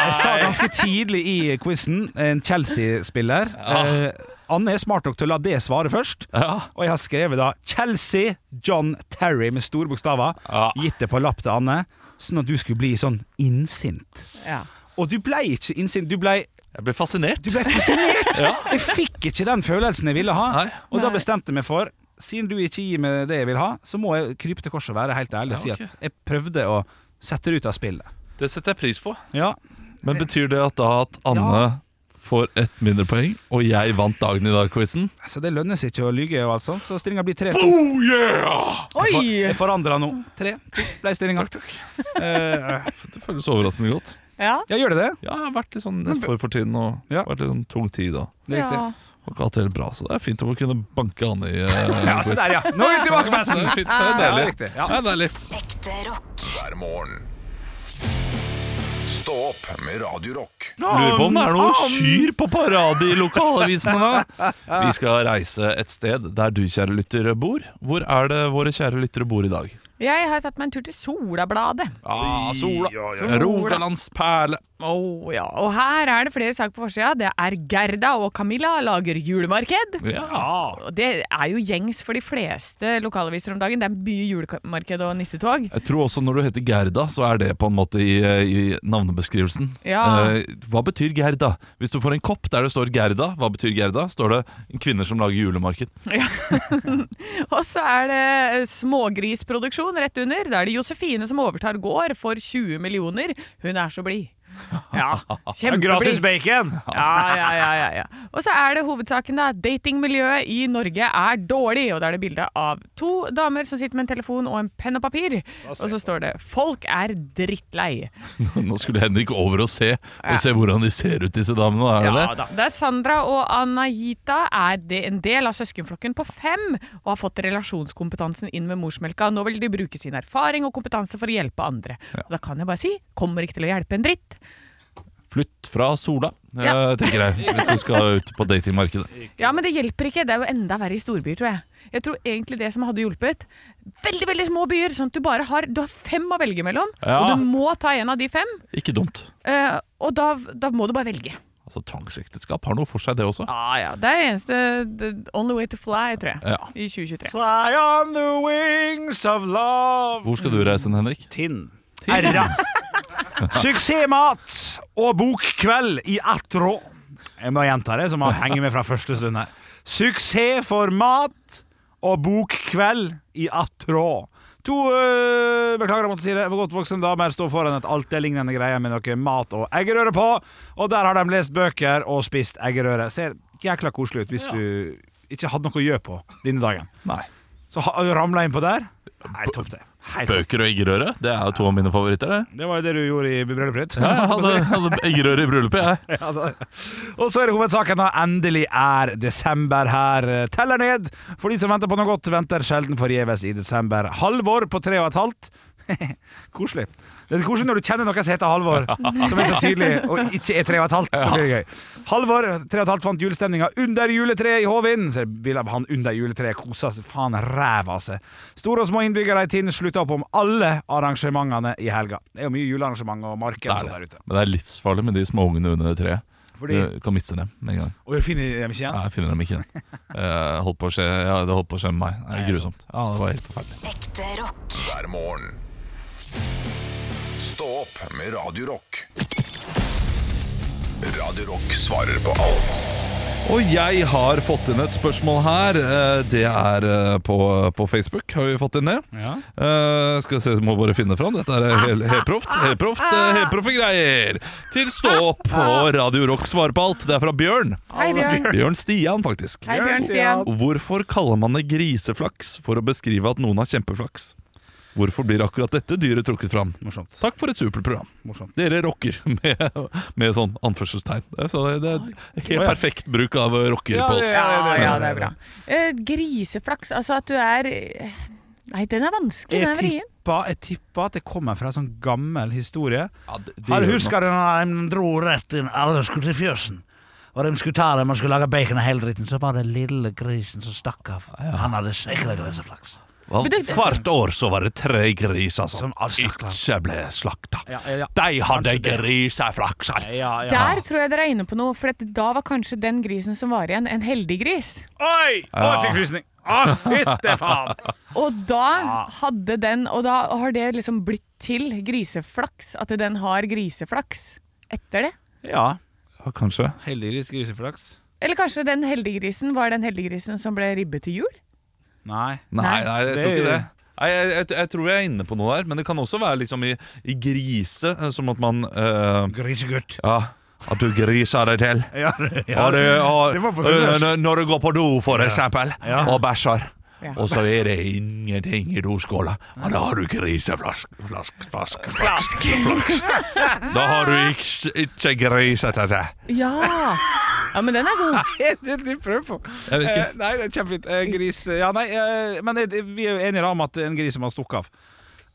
Jeg sa ganske tidlig i quizen, en Chelsea-spiller eh, Anne er smart nok til å la det svare først. Ja. Og jeg har skrevet da Chelsea John Terry med store bokstaver. Ja. Gitt det på lapp til Anne, sånn at du skulle bli sånn innsint. Ja. Og du ble ikke innsint. Du ble, Jeg ble fascinert. du ble fascinert! Jeg fikk ikke den følelsen jeg ville ha. Nei. Og da Nei. bestemte jeg meg for siden du ikke gir meg det jeg vil ha, så må jeg krype til korset og være helt ærlig og Ja, ok. si at jeg prøvde å sette det ut av spillet. Det setter jeg pris på. Ja, Men betyr det at da at Anne får ett mindrepoeng, og jeg vant dagen i dag-quizen? Så altså, det lønner seg ikke å lyge, og alt sånt så stillinga blir 3-2. Oh yeah! Jeg for- Oi! Jeg forandra nå. 3-2 ble stillinga. Det føles overraskende godt. Ja. Ja, gjør det det? Eh, Ja, jeg har vært litt sånn nest for for tiden, og Ja. vært litt sånn tung tid da. Det er riktig. Ja. Og ikke hatt det helt bra, så det er fint om å kunne banke Anne i eh, Ja, se quiz. der, ja. Nå er vi tilbake på Det hesten! er fint, det er Ja, deilig. riktig. Ja. Det er deilig. Ekte rock. hver morgen. Stå opp med Radio Rock. Lurer på om det er noe kyr på parade i lokalavisene da. Vi skal reise et sted der du, kjære lytter, bor. Hvor er det våre kjære lyttere bor i dag? Jeg har tatt meg en tur til Solabladet. Ah, sola. ja. Rogalands perle. Oh, ja. Og her er det flere saker på forsida. Det er Gerda og Camilla lager julemarked. Ja. Ah. Og Det er jo gjengs for de fleste lokalaviser om dagen. Det er mye julemarked og nissetog. Jeg tror også når du heter Gerda, så er det på en måte i, eh, i navnebeskrivelsen. Ja. Eh, hva betyr Gerda? Hvis du får en kopp der det står Gerda, hva betyr Gerda? Står det kvinner som lager julemarked. Og så er det eh, smågrisproduksjon rett under. Da er det Josefine som overtar gård for 20 millioner. Hun er så blid. Ja, Gratis kjempeblid. bacon! Ja, ja, ja, ja, ja. Og så er det hovedsaken, da. Datingmiljøet i Norge er dårlig. Og da er det bilde av to damer som sitter med en telefon og en penn og papir. Og så står det 'Folk er drittlei'. Nå skulle Henrik over og se, og se hvordan de ser ut, disse damene. Er det det? Ja, da. Der Sandra og Anahita er det en del av søskenflokken på fem og har fått relasjonskompetansen inn med morsmelka. Nå vil de bruke sin erfaring og kompetanse for å hjelpe andre. Og da kan jeg bare si kommer ikke til å hjelpe en dritt. Flytt fra Sola, eh, Ja. tenker jeg, hvis du skal ut på datingmarkedet. Ja, men det hjelper ikke. Det er jo enda verre i storbyer, tror jeg. Jeg tror egentlig det som hadde hjulpet Veldig, veldig små byer, sånn at du bare har Du har fem å velge mellom, Ja. og du må ta en av de fem. Ikke dumt. eh, og da, da må du bare velge. Altså Tvangsekteskap har noe for seg, det også. Ja, ja. Det er det eneste the Only way to fly, tror jeg. Ja. I 2023. Fly on the wings of love Hvor skal du reise den, Henrik? Tinn. Erra. Suksessmat og bokkveld i ett rå. Jeg må gjenta det, så man henger med fra første stund her. Suksess for mat og bokkveld i ett rå. To øh, beklager, jeg måtte si det. For godt voksne damer står foran et altelignende greie med noe mat og eggerøre på. Og der har de lest bøker og spist eggerøre. Ser jækla koselig ut hvis du ikke hadde noe å gjøre på denne dagen. Nei. Så ha- ramla innpå der. Nei, topp det. Helt topp. Bøker og eggerøre. Det er jo to av mine favoritter. det Det var jo det du gjorde i bryllupet ditt. Ja, jeg hadde, hadde eggerøre i bryllupet, jeg. Ja, da- og så er det hovedsaken da Endelig er desember her Teller ned For de som venter på noe godt Venter sjelden forgjeves i desember Halvor på tre og et halvt Koselig Det er koselig når du kjenner noen som heter Halvor Som er så tydelig Og ikke er tre og et halvt Så blir det gøy Halvor, tre og et halvt fant julestemninga Under juletreet i Håvind Så er det bilder av han under juletreet Kosa seg faen ræv av seg Store og små innbyggere i Tinn Slutta opp om alle arrangementene i helga Det er jo mye julearrangement og marked og Det er sånt der ute Men det er livsfarlig med de småungene under det treet. Fordi, Du kan miste dem med en gang. og vi finner dem ikke igjen Nei, jeg finner dem ikke igjen. Eh, holdt på å skje, ja, det holdt på å skje med meg. Det er grusomt. Ja, det var helt forferdelig. Ekte rock. hver morgen. Stå opp med Radio Rock. Radio Rock svarer på alt Og jeg har fått inn et spørsmål her. Eh, Det er eh, på, på Facebook. Har vi fått inn det? Ja. Eh, skal vi se, må bare finne fram. Dette er hel- helproft. Helproft, eh, Helproffe greier. Til Stå opp og Radio Rock svarer på alt. Det er fra Bjørn. Hei, Bjørn. Bjørn Stian, faktisk. Hei, Bjørn Stian. Hvorfor kaller man det griseflaks for å beskrive at noen har kjempeflaks? Hvorfor blir akkurat dette dyret trukket fram? Morsomt. Takk for et supert program. Morsomt. Dere rocker med, med sånn anførselstegn. Det er Så det, det er helt perfekt bruk av eh, rocker på oss. Ja, ja, det er bra. Eh, griseflaks, altså at du er eh, Nei, den er vanskelig, den Jeg Sånn er vrien. tippa, jeg tippa at det kommer fra en sånn gammel historie. Ja, det- det Her gjør husker du når de dro rett inn alle skulle til fjøsen? Og de skulle ta dem og skulle lage bacon og hele dritten. Så var det lille grisen som stakk av. Han hadde sikkert griseflaks. Vel, Men du- Hvert år så var det tre griser som, Som all slakta. ikke ble slakta. Ja, ja, ja. De hadde Kanskje det. griseflaks. her. Ja, Der tror jeg dere er inne på noe, for at da var kanskje den grisen som var igjen, en heldig gris. Oi! Å, jeg fikk frysning. Å, fytte faen! Og da hadde den Og da har det liksom blitt til griseflaks. At den har griseflaks etter det. Ja, Ja, kanskje. heldigvis griseflaks. Eller kanskje den heldiggrisen var den heldiggrisen som ble ribbe til jul? Nei. Nei, nei, jeg tror det- ikke det. Nei, jeg, jeg, jeg tror jeg er inne på noe der, men det kan også være liksom i, i grise, eh, som at man eh, Grisegutt. Ja, at du griser deg til. Ja, Og du, og, Det var på sunnmørsk. eh, når du går på do, for eksempel, Ja. og bæsjer. Ja. Og så er det ingenting i doskåla. Ja, da har du griseflask flask, flask, flask, flaks. Da har du ikke, ikke grisete til. Ja! ja men den er god. det prøver på. Jeg vet Eh, nei, det er kjempefint. Eh, gris Ja, nei, eh, men det, vi er jo enige da om at en gris som har stukket av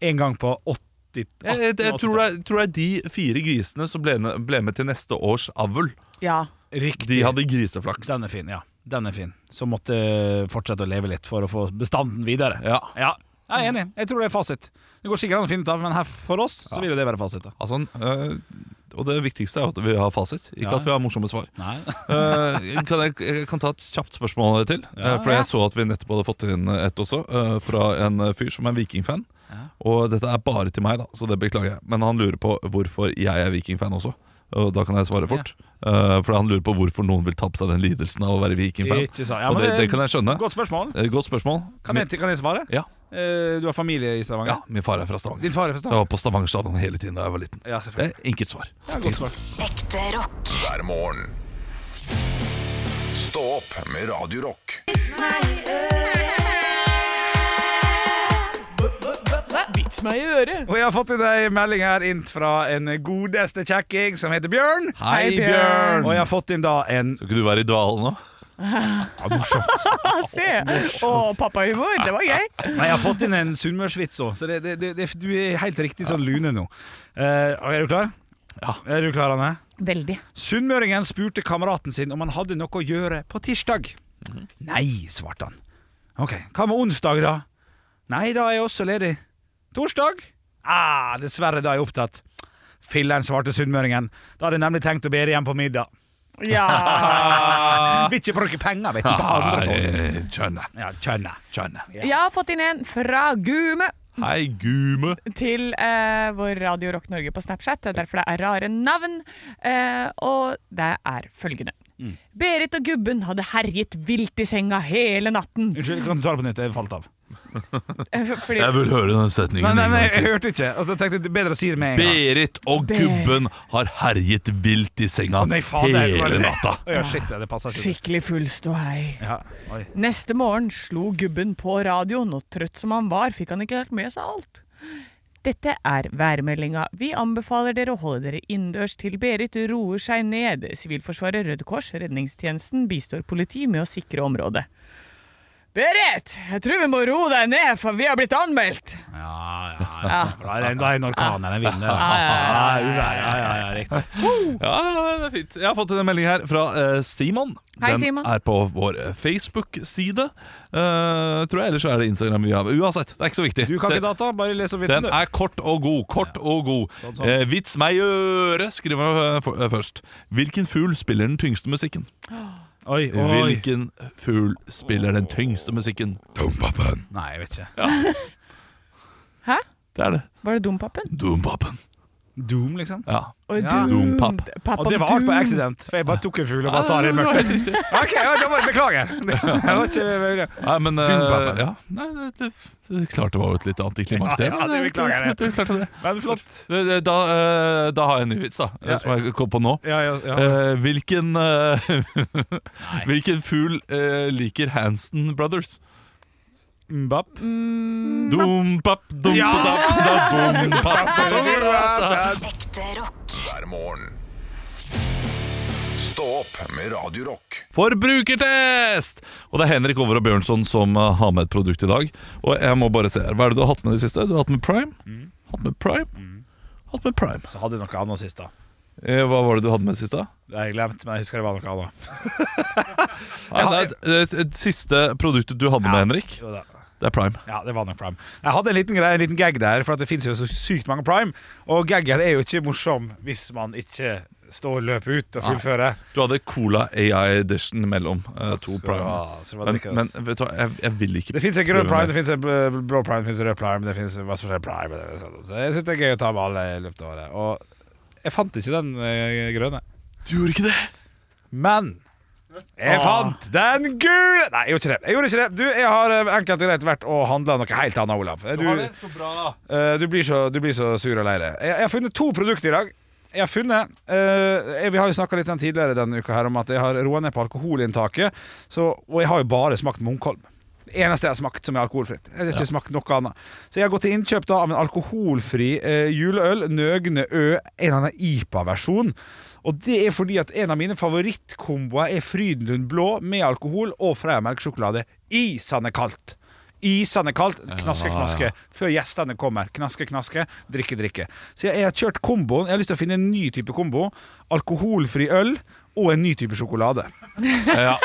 en gang på 80 Jeg, jeg, jeg tror, det, tror jeg de fire grisene som ble, ble med til neste års avl, Ja. Riktig. de hadde griseflaks. Den er fin, ja. Den er fin. Som måtte eh, fortsette å leve litt for å få bestanden videre. Ja. Ja, jeg er enig. Jeg tror det er fasit. Det går sikkert an å finne ut av, men her for oss så vil jo det være fasit. da Altså, øh, og det viktigste er jo at vi har fasit, ikke Ja. at vi har morsomme svar. Nei. Øh, kan jeg, jeg kan ta et kjapt spørsmål til. Øh, for jeg så at vi nettopp hadde fått inn et også, øh, fra en øh, fyr som er vikingfan. Og dette er bare til meg, da, så det beklager jeg. Men han lurer på hvorfor jeg er vikingfan også. Og da kan jeg svare fort. Øh, for han lurer på hvorfor noen vil ta på seg den lidelsen av å være vikingfan. Ikke sant. Ja, og men det, det- det kan jeg skjønne. Godt spørsmål. Eh, Godt spørsmål. Kan jeg, kan jeg svare? Ja. Eh, Du har familie i Ja, Stavanger? min far er fra Stavanger. Din far er fra Så jeg Stavanger? var på Stavanger stadion hele tiden da jeg var liten. Ja, Det selvfølgelig. er enkelt svar. Ja, godt svar. Ekte rock. hver morgen. Stå opp med Radio Rock. Vits meg i øret. Og jeg har fått inn ei melding her inn fra en godeste kjekking som heter Bjørn. Hei, Hei, Bjørn. Bjørn! Og jeg har fått inn da en Skal ikke du være i dvale nå? Ja, se. Å, pappahumor. Det var gøy. Nei, jeg har fått inn en sunnmørsvits òg, så det, det, det, det, du er helt riktig sånn lune nå. Eh, og er du klar? Ja. Er du klar, Anne? Veldig. Sunnmøringen spurte kameraten sin om han hadde noe å gjøre på tirsdag. Nei, svarte han. Ok, hva med onsdag, da? Nei, da er jeg også ledig. Torsdag? Ah, dessverre, da er jeg opptatt. Filleren, svarte sunnmøringen. Da hadde jeg nemlig tenkt å be deg hjem på middag. Ja. Vil ikke bruke penger, vet du, på andre folk. Nei, Skjønner. Ja, skjønner. Ah, eh. Skjønner. Jeg har fått inn en fra Gume. Hei, gume. til eh, vår Radio Rock Norge på Snapchat. Det er derfor det er rare navn. Eh, og det er følgende. Berit og gubben hadde herjet vilt i senga hele natten. Unnskyld, kan du ta det på nytt? Jeg falt av. Eh, Fordi, Jeg vil høre den Nei, setningen nei, en nei, gang jeg til. hørte ikke. Altså, jeg tenkte Bedre å si det med en gang. Berit og Be- gubben har herjet vilt i senga Å, nei, faen, det er- hele natta. Å, Ja, shit, det passer ikke. skikkelig full ståhei. Ja, oi. Neste morgen slo gubben på radioen, og trøtt som han var, fikk han ikke helt med seg alt. Dette er værmeldinga. Vi anbefaler dere å holde dere innendørs til Berit roer seg ned. Sivilforsvaret, Røde Kors, redningstjenesten bistår politi med å sikre området. Berit, jeg tror vi må roe deg ned, for vi har blitt anmeldt. Ja, ja, ja. Da er det- da er det en orkan eller en vind. eller- Ja, ja, ja, ja, ja, ja. Uvær, ja, ja, ja, riktig. Ja, det er fint. Jeg har fått en melding her fra eh, Simon. Hei, Den Simon. er på vår eh, Facebook-side, eh, tror jeg. Eller så er det Instagram. Vi har. Uansett, det er ikke så viktig. Du kan ikke Det- data, bare les opp vitsen, Den du. er kort og god. Kort og god. sånn. Eh, vits meg i øret, skriver han eh, for- eh, først. Hvilken fugl spiller den tyngste musikken? Oi, oi. Hvilken fugl spiller den tyngste musikken? Dompapen. Nei, jeg vet ikke. Hæ? Det er det. Var det Dompapen? Dompapen. Doom, liksom? Ja. Oi, Ja. Doom. Dompap. Pappa Og det var på Doom. accident, for jeg bare tok en fugl og bare Ah, sa det i mørket. Ok, ja, da var det beklager. Det var ikke Nei, men eh, Dompapen. ja. Nei, det, det, det klart det var jo et litt antiklimaks, det. Ja, ja, men det beklager jeg. det- det- klarte det. Men flott. Eh, Da, eh, da har jeg en ny vits, da, eh, Ja. som jeg kom på nå. Ja, ja, ja. Eh, hvilken eh, Hvilken fugl eh, liker Hansen Brothers? Mbapp. Dompap, dompap, dompap Ekte rock. hver morgen. Stå opp med Radio Rock. Forbrukertest! Og det er Henrik Over og Bjørnson som eh, har med et produkt i dag. Og jeg må bare se her, Hva er det du har hatt med i det siste? Du har hatt med Prime? Mm. Hatt med Prime? Hatt med Prime. Så hadde jeg noe annet sist, da. Eh, hva var det du hadde med sist, da? Det har jeg glemt, men jeg husker det var noe annet. Ah, Nei, det, er, et- det er et siste produktet du hadde med, Henrik, Jo da. det er Prime. Ja, det var nok Prime. Jeg hadde en liten, greie, en liten gag der, for at det finnes jo så sykt mange Prime. Og gaggen er jo ikke morsom hvis man ikke står løpet ut og fullfører. Du hadde Cola AI Edition mellom eh, to Skal du Prime. ha, så det var Men, drikkes. men vet du hva, jeg, jeg vil ikke Det fins en grønn prøve prime, mer. det fins en bl- blå prime, det fins en rød prime, det fins hva som helst prime. det er sånn. Så jeg syns det er gøy å ta med alle i løpet av året. Og jeg fant ikke den eh, grønne. Du gjorde ikke det? Men jeg fant den gule! Nei, jeg gjorde ikke det. Jeg gjorde ikke det. Du, jeg har eh, enkelt og greit vært og handla noe helt annet, Olav. Du, så bra. eh, du, blir, så, du blir så sur og lei deg. Jeg, jeg har funnet to produkter i dag. Jeg har funnet eh, jeg, Vi har jo snakka litt om tidligere denne uka her om at jeg har roa ned på alkoholinntaket. Så, og jeg har jo bare smakt Munkholm. Det eneste jeg har smakt som er alkoholfritt. Jeg har ikke smakt noe annet Så jeg har gått til innkjøp da av en alkoholfri eh, juleøl, Nøgne Ø, en eller annen IPA-versjon. Og det er fordi at en av mine favorittkomboer er Frydenlund blå med alkohol og Freia-melkesjokolade. Isende kaldt. Isende kaldt. Knaske, knaske. Før gjestene kommer. Knaske, knaske. Drikke, drikke. Så jeg har kjørt komboen. Jeg har lyst til å finne en ny type kombo. Alkoholfri øl og en ny type sjokolade. Ja.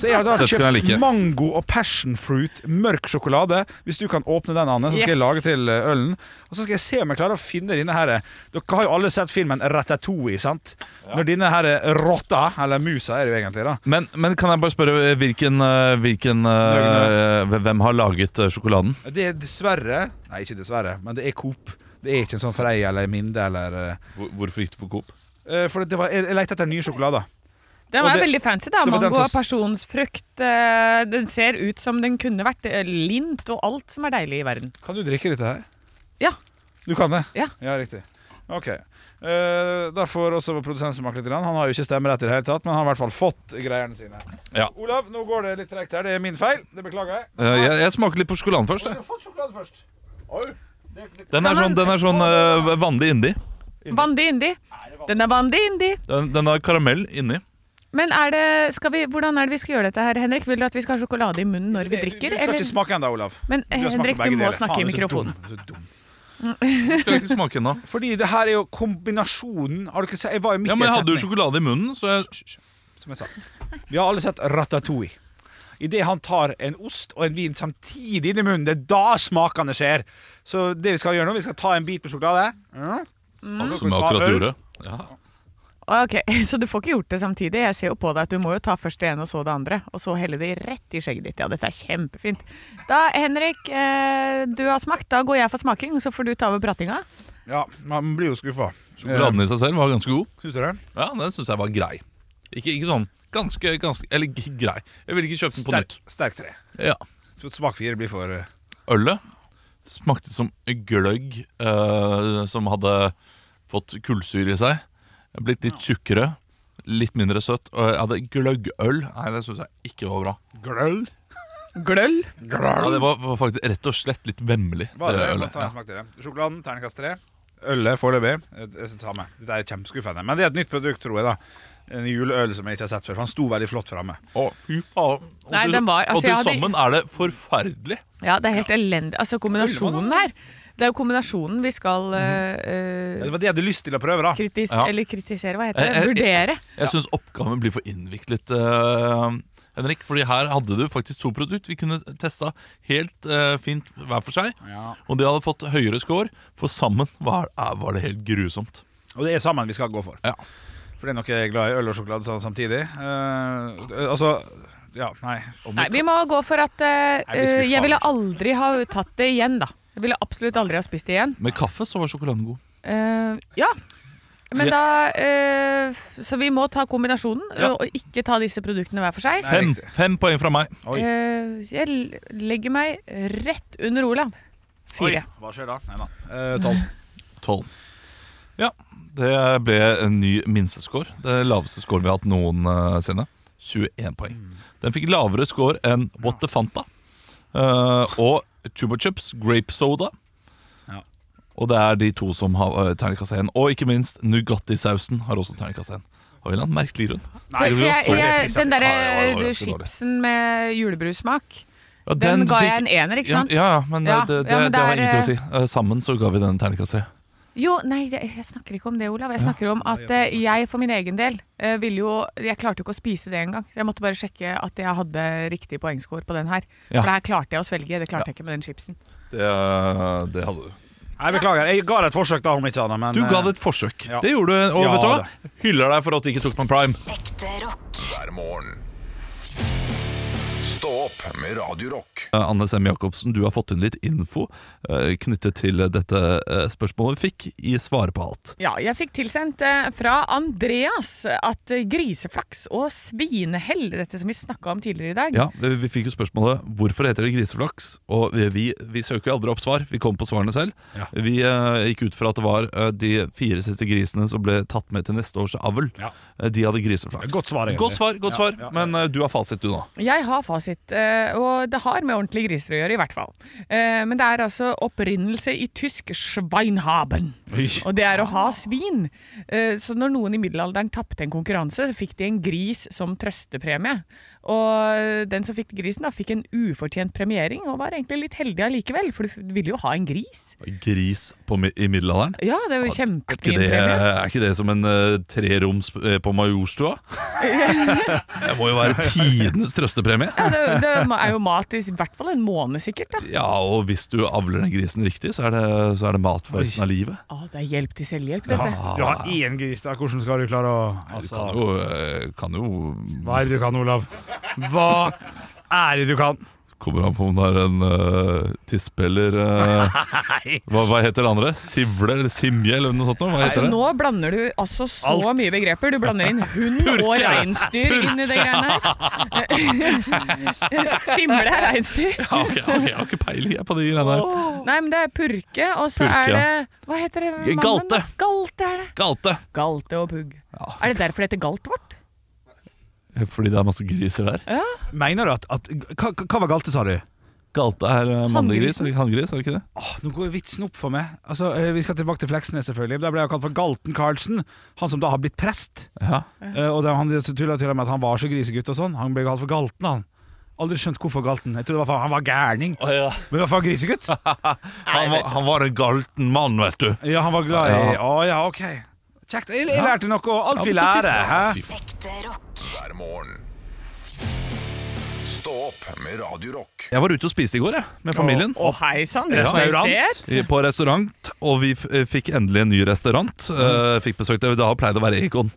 Så jeg har da Dette kan jeg kjøpt like. mango og passion fruit, mørk sjokolade. Hvis du kan åpne den, Anne, så skal Yes. jeg lage til eh, ølen. Og så skal jeg se om jeg klarer å finne denne her Dere har jo alle sett filmen Ratatouille, sant? Når denne her eh, rotta, eller musa er det jo egentlig, da. Men, men kan jeg bare spørre eh, hvilken, eh, hvilken eh, Hvem har laget eh, sjokoladen? Det er dessverre Nei, ikke dessverre, men det er Coop. Det er ikke en sånn Freia eller Minde eller Hvorfor gikk du for Coop? eh, For det var, jeg, jeg lette etter nye sjokolader. Den Og var det- veldig fancy, da. det var den Mango og som- pasjonsfrukt. eh, Den ser ut som den kunne vært. eh, Lint og alt som er deilig i verden. Kan du drikke dette her? Ja. Du kan det? Ja. riktig. Ok. Eh, da får også produsenten smake litt. grann. Han har jo ikke stemmerett i det hele tatt, men han har i hvert fall fått greiene sine. Ja. Olav, nå går det litt tregt her. Det er min feil. Det beklager jeg. Eh, jeg, jeg smaker litt på sjokoladen først. Du Jeg. har fått sjokolade først. Oi. Den er sånn, den er sånn eh, vanlig inni. Vandig indi. Den er vandig indi. Den, den har karamell inni. Men er det, skal vi, hvordan er det vi skal gjøre dette her, Henrik? Vil du at vi skal ha sjokolade i munnen når vi drikker? Du skal eller? ikke smake ennå, Olav. Men eh, har smakt på Henrik, du begge må deler. snakke Faen, i du er så mikrofonen. dum, du er så dum. Skal jeg ikke smake ennå. Fordi det her er jo kombinasjonen Har dere sett Jeg var jo midt Ja, men i en jeg hadde jo setning. sjokolade i munnen, så jeg som jeg sa. Vi har alle sett Ratatouille. Idet han tar en ost og en vin samtidig inn i munnen, det er da smakene skjer. Så det vi skal gjøre nå, vi skal ta en bit med sjokolade. Ja. Som jeg akkurat gjorde. Ja. Ah, Ok, Så du får ikke gjort det samtidig. Jeg ser jo på deg at du må jo ta først det ene og så det andre, og så helle det rett i skjegget ditt. Ja, dette er kjempefint. Da, Henrik, eh, du har smakt. Da går jeg for smaking, så får du ta over pratinga. Ja, man blir jo Eh, skuffa. Sjokoladen i seg selv var ganske god. Syns du det? Ja, den syns jeg var grei. Ikke, ikke sånn ganske, ganske Eller g- grei. Jeg ville ikke kjøpt den på Sterk, nytt. sterk tre. Ja. Så et Svak fire blir for eh, Ølet smakte som gløgg eh, som hadde fått kullsyre i seg. Blitt litt tjukkere. Litt mindre søtt. Og jeg hadde gløggøl. Nei, det syns jeg ikke var bra. gløll. Gløll. Ja, det var, var faktisk rett og slett litt vemmelig. Bare det det, ølet. ta en Ja. smak til det. Sjokoladen, terningkast tre. Ølet foreløpig eh, det er det samme. Dette er kjempeskuffende. Men det er et nytt produkt, tror jeg. da En juleøl som jeg ikke har sett før. For han sto veldig flott framme. Å, fy faen. Og Nei, til- den var- altså, og til jeg hadde- sammen er det forferdelig. Ja, det er helt elendig. Altså, kombinasjonen her. Det er jo kombinasjonen vi skal eh, Ja, eh, det var det jeg hadde lyst til å prøve, da. kritis Ja. Eller kritisere, hva heter det? Eh, eh, Vurdere. Jeg synes syns oppgaven blir for innviklet, eh, Henrik. Fordi her hadde du faktisk to produkt vi kunne testa helt eh, fint hver for seg. Ja. Og de hadde fått høyere score, for sammen var, eh, var det helt grusomt. Og det er sammen vi skal gå for. Ja. For det er nok jeg er glad i øl og sjokolade sånn samtidig. Eh, altså Ja, nei. Nei, vi må gå for at eh, vi skulle eh, Jeg ville faen aldri ha tatt det igjen, da. Jeg ville absolutt aldri ha spist det igjen. Med kaffe så var sjokoladen god. Eh, ja. Men da eh, Så vi må ta kombinasjonen, Ja. og ikke ta disse produktene hver for seg. Nei. Fem, riktig. fem poeng fra meg. Oi. Eh, jeg l- legger meg rett under Olav. Fire. Oi, hva skjer da? Nei da. Eh, tolv. Tolv. Ja, det ble en ny minstescore. Det laveste scoren vi har hatt noensinne. 21 poeng. Den fikk lavere score enn What the Fanta eh, og Chupa Chups Grape Soda. Ja. Og det er de to som har uh, terningkast 1. Og ikke minst Nugatti-sausen har også terningkast 1. Av en eller annen merkelig grunn. Nei, For vi var jeg, jeg, sorry. den Ja, ja, det var derre ganske dårlig. chipsen med julebrussmak, Ja, den, ga jeg fikk- en ener, ikke sant? Ja, ja, men, eh, Ja, det, det, ja, men det har det er, ingenting å si. Eh, sammen så ga vi den terningkast 3. Jo, nei, jeg, jeg snakker ikke om det, Olav. Jeg snakker om at eh, jeg for min egen del eh, ville jo Jeg klarte jo ikke å spise det engang. Så jeg måtte bare sjekke at jeg hadde riktig poengscore på den her. Ja. For det her klarte jeg å svelge. Det klarte jeg ikke med den chipsen. Det, eh, det hadde du. Nei, beklager. Jeg ga det et forsøk, da, om ikke annet. Du Men ga eh, det et forsøk. Ja. Det gjorde du. Og Ja, vet du hva? Hyller deg for at du ikke tok på en prime. Ekte rock. hver morgen. Stå opp med Radio Rock. Eh, Anne Sem Jacobsen, du har fått inn litt info eh, knyttet til dette eh, spørsmålet vi fikk i Svare på alt. Ja, jeg fikk tilsendt eh, fra Andreas at eh, griseflaks og svinehell, dette som vi snakka om tidligere i dag Ja, vi, vi fikk jo spørsmålet hvorfor heter det griseflaks. Og vi, vi, vi søker jo aldri opp svar, vi kom på svarene selv. Ja. Vi eh, gikk ut fra at det var eh, de fire siste grisene som ble tatt med til neste års avl. Ja. Eh, de hadde griseflaks. Godt svar, egentlig. Godt svar, godt Ja, svar. ja, ja. Men eh, du har fasit, du nå. Jeg har fasit, eh, og det har med ordentlige griser å gjøre, i hvert fall. Eh, Men det er altså opprinnelse i tysk Schweinhaben. Og det er å ha svin. Eh, Så når noen i middelalderen tapte en konkurranse, så fikk de en gris som trøstepremie. Og den som fikk grisen, da, fikk en ufortjent premiering, og var egentlig litt heldig allikevel, for du ville jo ha en gris. Gris på, mi- i middelalderen. Ja, det er jo Er ikke, kjempefin det, premie. er ikke det som en eh, treroms eh, på Majorstua? det må jo være tidenes trøstepremie. Ja, det, det er jo mat i i hvert fall en måned, sikkert. da. Ja, og hvis du avler den grisen riktig, så er det, så er det mat for resten av livet. Å, det er hjelp til selvhjelp, dette. Du har én gris, da. Hvordan skal du klare å Du altså, kan jo, eh, kan jo Hva er det du kan, Olav? Hva er det du kan? Kommer an på om det er en uh, tispe eller eh, hva, hva heter det andre? Sivle eller simje eller noe sånt? noe? Hva Altså, heter det? nå blander du altså så Alt. mye begreper. Du blander inn hund og reinsdyr inn i det greiene her. Simle er reinsdyr. Ja, ok, ok, jeg har ikke peiling jeg, på de greiene der. Nei, men det er purke, og så Purke, er ja. det Hva heter det? mannen Galte. da? Galte er det. Galte! Galte og pugg. Ja. Er det derfor det heter galt vårt? Fordi det er masse griser der. Mener du at, at hva, hva var galt, sa du? Galte er uh, mannlig gris, eller hanngris, er det ikke det? Åh, nå går vitsen opp for meg. Altså, eh, Vi skal tilbake til Fleksnes, selvfølgelig. Der ble jeg kalt for Galten Karlsen. Han som da har blitt prest. Ja. Eh, og det, han tulla til og med at han var så grisegutt og sånn. Han ble kalt for Galten, han. Aldri skjønt hvorfor Galten. Jeg trodde det var for han var gærning. Men i hvert fall grisegutt. Han, var, han var en galten mann, vet du. Ja, han var glad i Å Ja. ja, ok. Kjekt. Jeg, jeg lærte noe. Ja, Alt men så vi fint. lærer. Hæ? Ekte rock. hver morgen. Stå opp med Radio Rock. Jeg var ute og spiste i går jeg, med familien. Å hei sann, Deres Restaurant. Majestet. I- På Mm. restaurant, og vi f- eh, fikk endelig en ny restaurant. Eh, fikk besøkt det. Det har pleid å være Egon.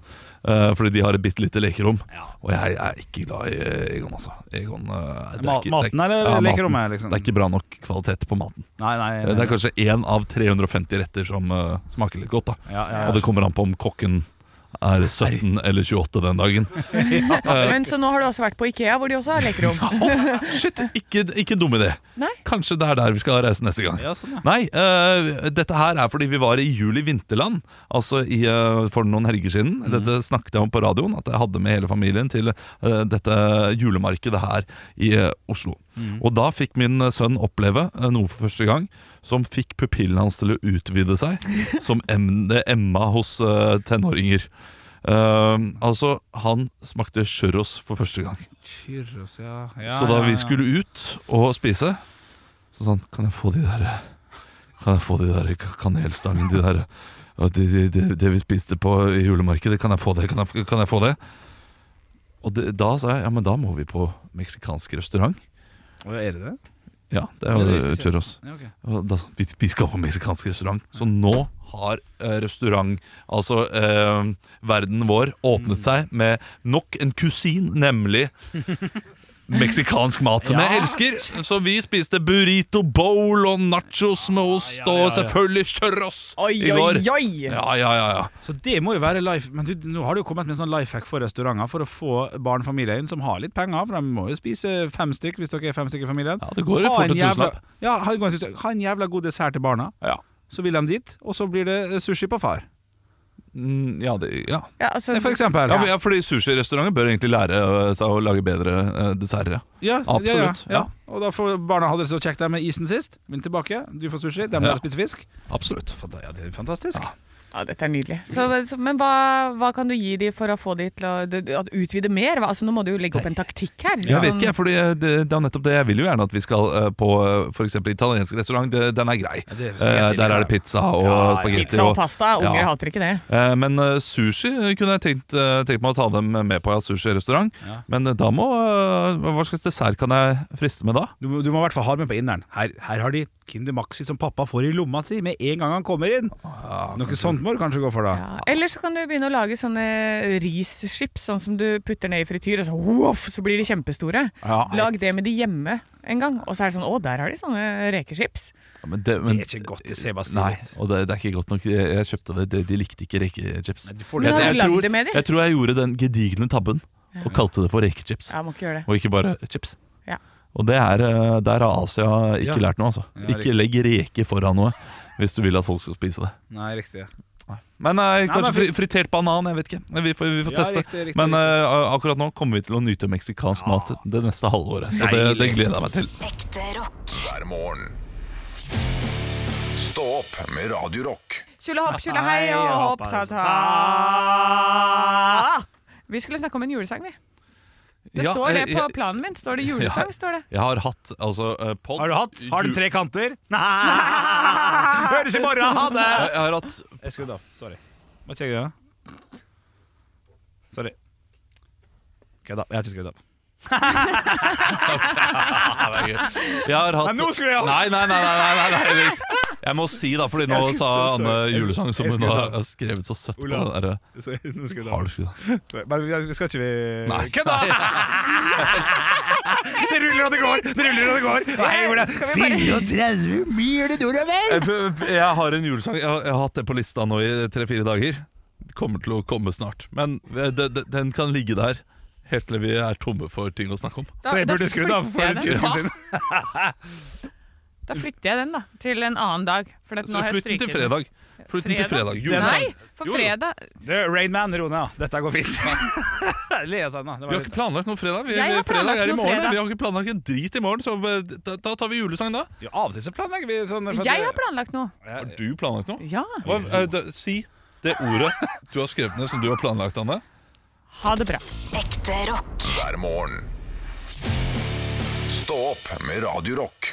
Eh, fordi de har et bitte lite lekerom. Og jeg er ikke glad i eh, Egon, altså. Egon, eh, det er Ma- ikke- maten det er- eller ja, maten. lekerommet, liksom? Det er ikke bra nok kvalitet på maten. Nei, nei, Eh, Det er kanskje én av 350 retter som eh, smaker litt godt. da Ja, ja, ja. Og det kommer an på om kokken er 17 eller 28 den dagen. Men så nå har du også vært på Ikea, hvor de også har lekerom. Shit, ikke, ikke dum idé. Nei. Kanskje det er der vi skal reise neste gang. Ja, sånn, ja. Nei, eh, dette her er fordi vi var i juli vinterland, altså i, eh, for noen helger siden. Mhm. Dette snakket jeg om på radioen, at jeg hadde med hele familien til eh, dette julemarkedet her i eh, Oslo. Mhm. Og da fikk min sønn oppleve eh, noe for første gang som fikk pupillen hans til å utvide seg, som em- det Emma hos eh, tenåringer. Eh, altså, han smakte churros for første gang. Churros, ja. Så da vi skulle ut og spise Så sånn, kan jeg få de der Kan jeg få de der ka- kanelstangen De der og de, de, de, Det vi spiste på i julemarkedet Kan jeg få det, kan jeg, f- kan jeg få det Og det, da sa jeg, ja men da må vi på Meksikansk restaurant Er det det? Ja, det Ja, det er jo viser seg. churros Ja, ok. og da, vi, vi skal på meksikansk restaurant Så nå har eh, restaurant Altså eh, verden vår Åpnet Mm. seg med nok en kusin Nemlig Meksikansk mat som jeg elsker Så vi spiste burrito bowl Og nachos med Ah, ost Og selvfølgelig churros Oi, i oi, går. oi! Ja, ja, ja, ja Så det må jo være life Men du, nå har det jo kommet med en sånn life hack for restauranter for å få barnefamilier inn som har litt penger, for de må jo spise fem stykk hvis dere er fem stykker i familien. Ja, det går jo Ha fort en en jævla- tusenlapp. Ja, ha en, god tusenlapp. ha en jævla god dessert til barna. Ja, Så vil de dit, og så blir det eh, sushi på far. Mm, ja, det, ja. Ja, altså, Det er For eksempel. ja, men- ja fordi sushi-restauranter bør egentlig lære eh, seg å lage bedre eh, desserter ja. Ja, absolutt, Ja, ja. Og da får barna ha det så kjekt der med isen sist. Vil tilbake, du får sushi, dem Ja. der spiser fisk. Absolutt Fanta- Ja, det er fantastisk. ja, dette er nydelig. Så, så, men hva, hva kan du gi de for å få de til å det- at utvide mer? Hva- Altså, nå må du jo legge opp en taktikk her. Jeg vet Sånn- ikke, jeg, fordi eh, det, det er nettopp det. Jeg vil jo gjerne at vi skal eh, på eh, for eksempel italiensk restaurant. Det, den er grei. det er Eh, spagetti, Der ja. er det pizza og spagetti. Pizza og pasta. Unger Ja. hater ikke det. Eh, Men eh, sushi kunne jeg tenkt, eh, tenkt meg å ta dem med på ja, sushi-restaurant. Men eh, da må eh, Hva slags dessert kan jeg friste med da? Du, må- du må i hvert fall ha med på inneren. Her, her har de Kinder Maxi som pappa får i lomma si med en gang han kommer inn. Ah, Noe sånt må du kanskje gå for, da. Ja. Eller så kan du begynne å lage sånne rischips, sånn som du putter ned i frityr, og så, woff, så blir de kjempestore. Ja. Lag det med de hjemme en gang, og så er det sånn Å, der har de sånne rekechips. Ja, men det, Det men- er ikke godt. Det ser bare Nei, stilig ut. og det, det er ikke godt nok. Jeg, jeg kjøpte det, de, de likte ikke rekechips. får Men Jeg- har jeg du lagd tror- det med de? Jeg tror jeg gjorde den gedigne tabben og kalte det for rekechips. Ja, må ikke gjøre det. Og ikke bare chips. Ja. Og det er, eh, der har Asia ikke lært noe, altså. ikke legg reke foran noe hvis du vil at folk skal spise det. Nei, riktig. ja. Men eh, men kanskje fri- fri- fritert banan, jeg vet ikke. Vi får, vi får Ja, teste. riktig, riktig, men eh, akkurat nå kommer vi til å nyte meksikansk mat det neste halvåret. Så det, det gleder jeg meg til. Ekte rock. hver morgen. Stå opp med Radio Rock. Kjole hopp, kjole hei og hopp, altså. ta-ta. Vi skulle snakke om en julesang, vi. Det Ja, står det eh, på jeg, planen min. Står det julesang, Ja. står det. jeg har hatt altså eh, pod Har du hatt? Har den ju- tre kanter? Nei! Høres i morgen! Ha det! Jeg jeg har hatt Jeg skrudde av. Sorry. Var ikke jeg greia? Sorry. Kødda. Jeg har ikke skrudd av. Jeg har hatt Nei, nå skulle jeg ha- Nei, nei, nei, nei, nei, nei, nei. Erik. Jeg må si da, fordi nå Jeg skulle- sa sorry, Anne sorry. Jeg- julesang som jeg hun skulle har da. har skrevet så søtt på Olav. den derre Så, nå skrudde jeg Har du ikke det? av. Men vi- skal ikke vi Nei. Kødda! Det ruller og det går! Det ruller og det går! Nei, hvor det Skal vi bare- 34 mil nordover! Jeg, Eh, jeg har en julesang. Jeg, har- jeg har hatt det på lista nå i tre-fire dager. Det Kommer til å komme snart. Men eh, det, det, den kan ligge der helt til vi er tomme for ting å snakke om. Da- Så jeg da burde skrudd av for flytter jeg en den. tidsstund siden. Da flytter jeg den da, til en annen dag. For at Så nå har jeg Flytt den til stryket den. fredag. Flytt den til fredag. Julesang. Nei, for Jo, jo. fredag Du, Rainman, ro ned. da. Dette går fint. Le av den, da. Vi Det var har litt- ikke planlagt noe fredag. Vi, Jeg har fredag planlagt er i noe morgen. fredag. Vi har ikke planlagt en drit i morgen, så eh, da, da tar vi julesang da. Ja, av og til så planlegger vi sånn for at- Jeg har planlagt noe. Har du planlagt noe? Ja. Hva, eh, da, si det ordet du har skrevet ned som du har planlagt, Anne. Ha det bra. Ekte rock. hver morgen. Stå opp med Radio Rock.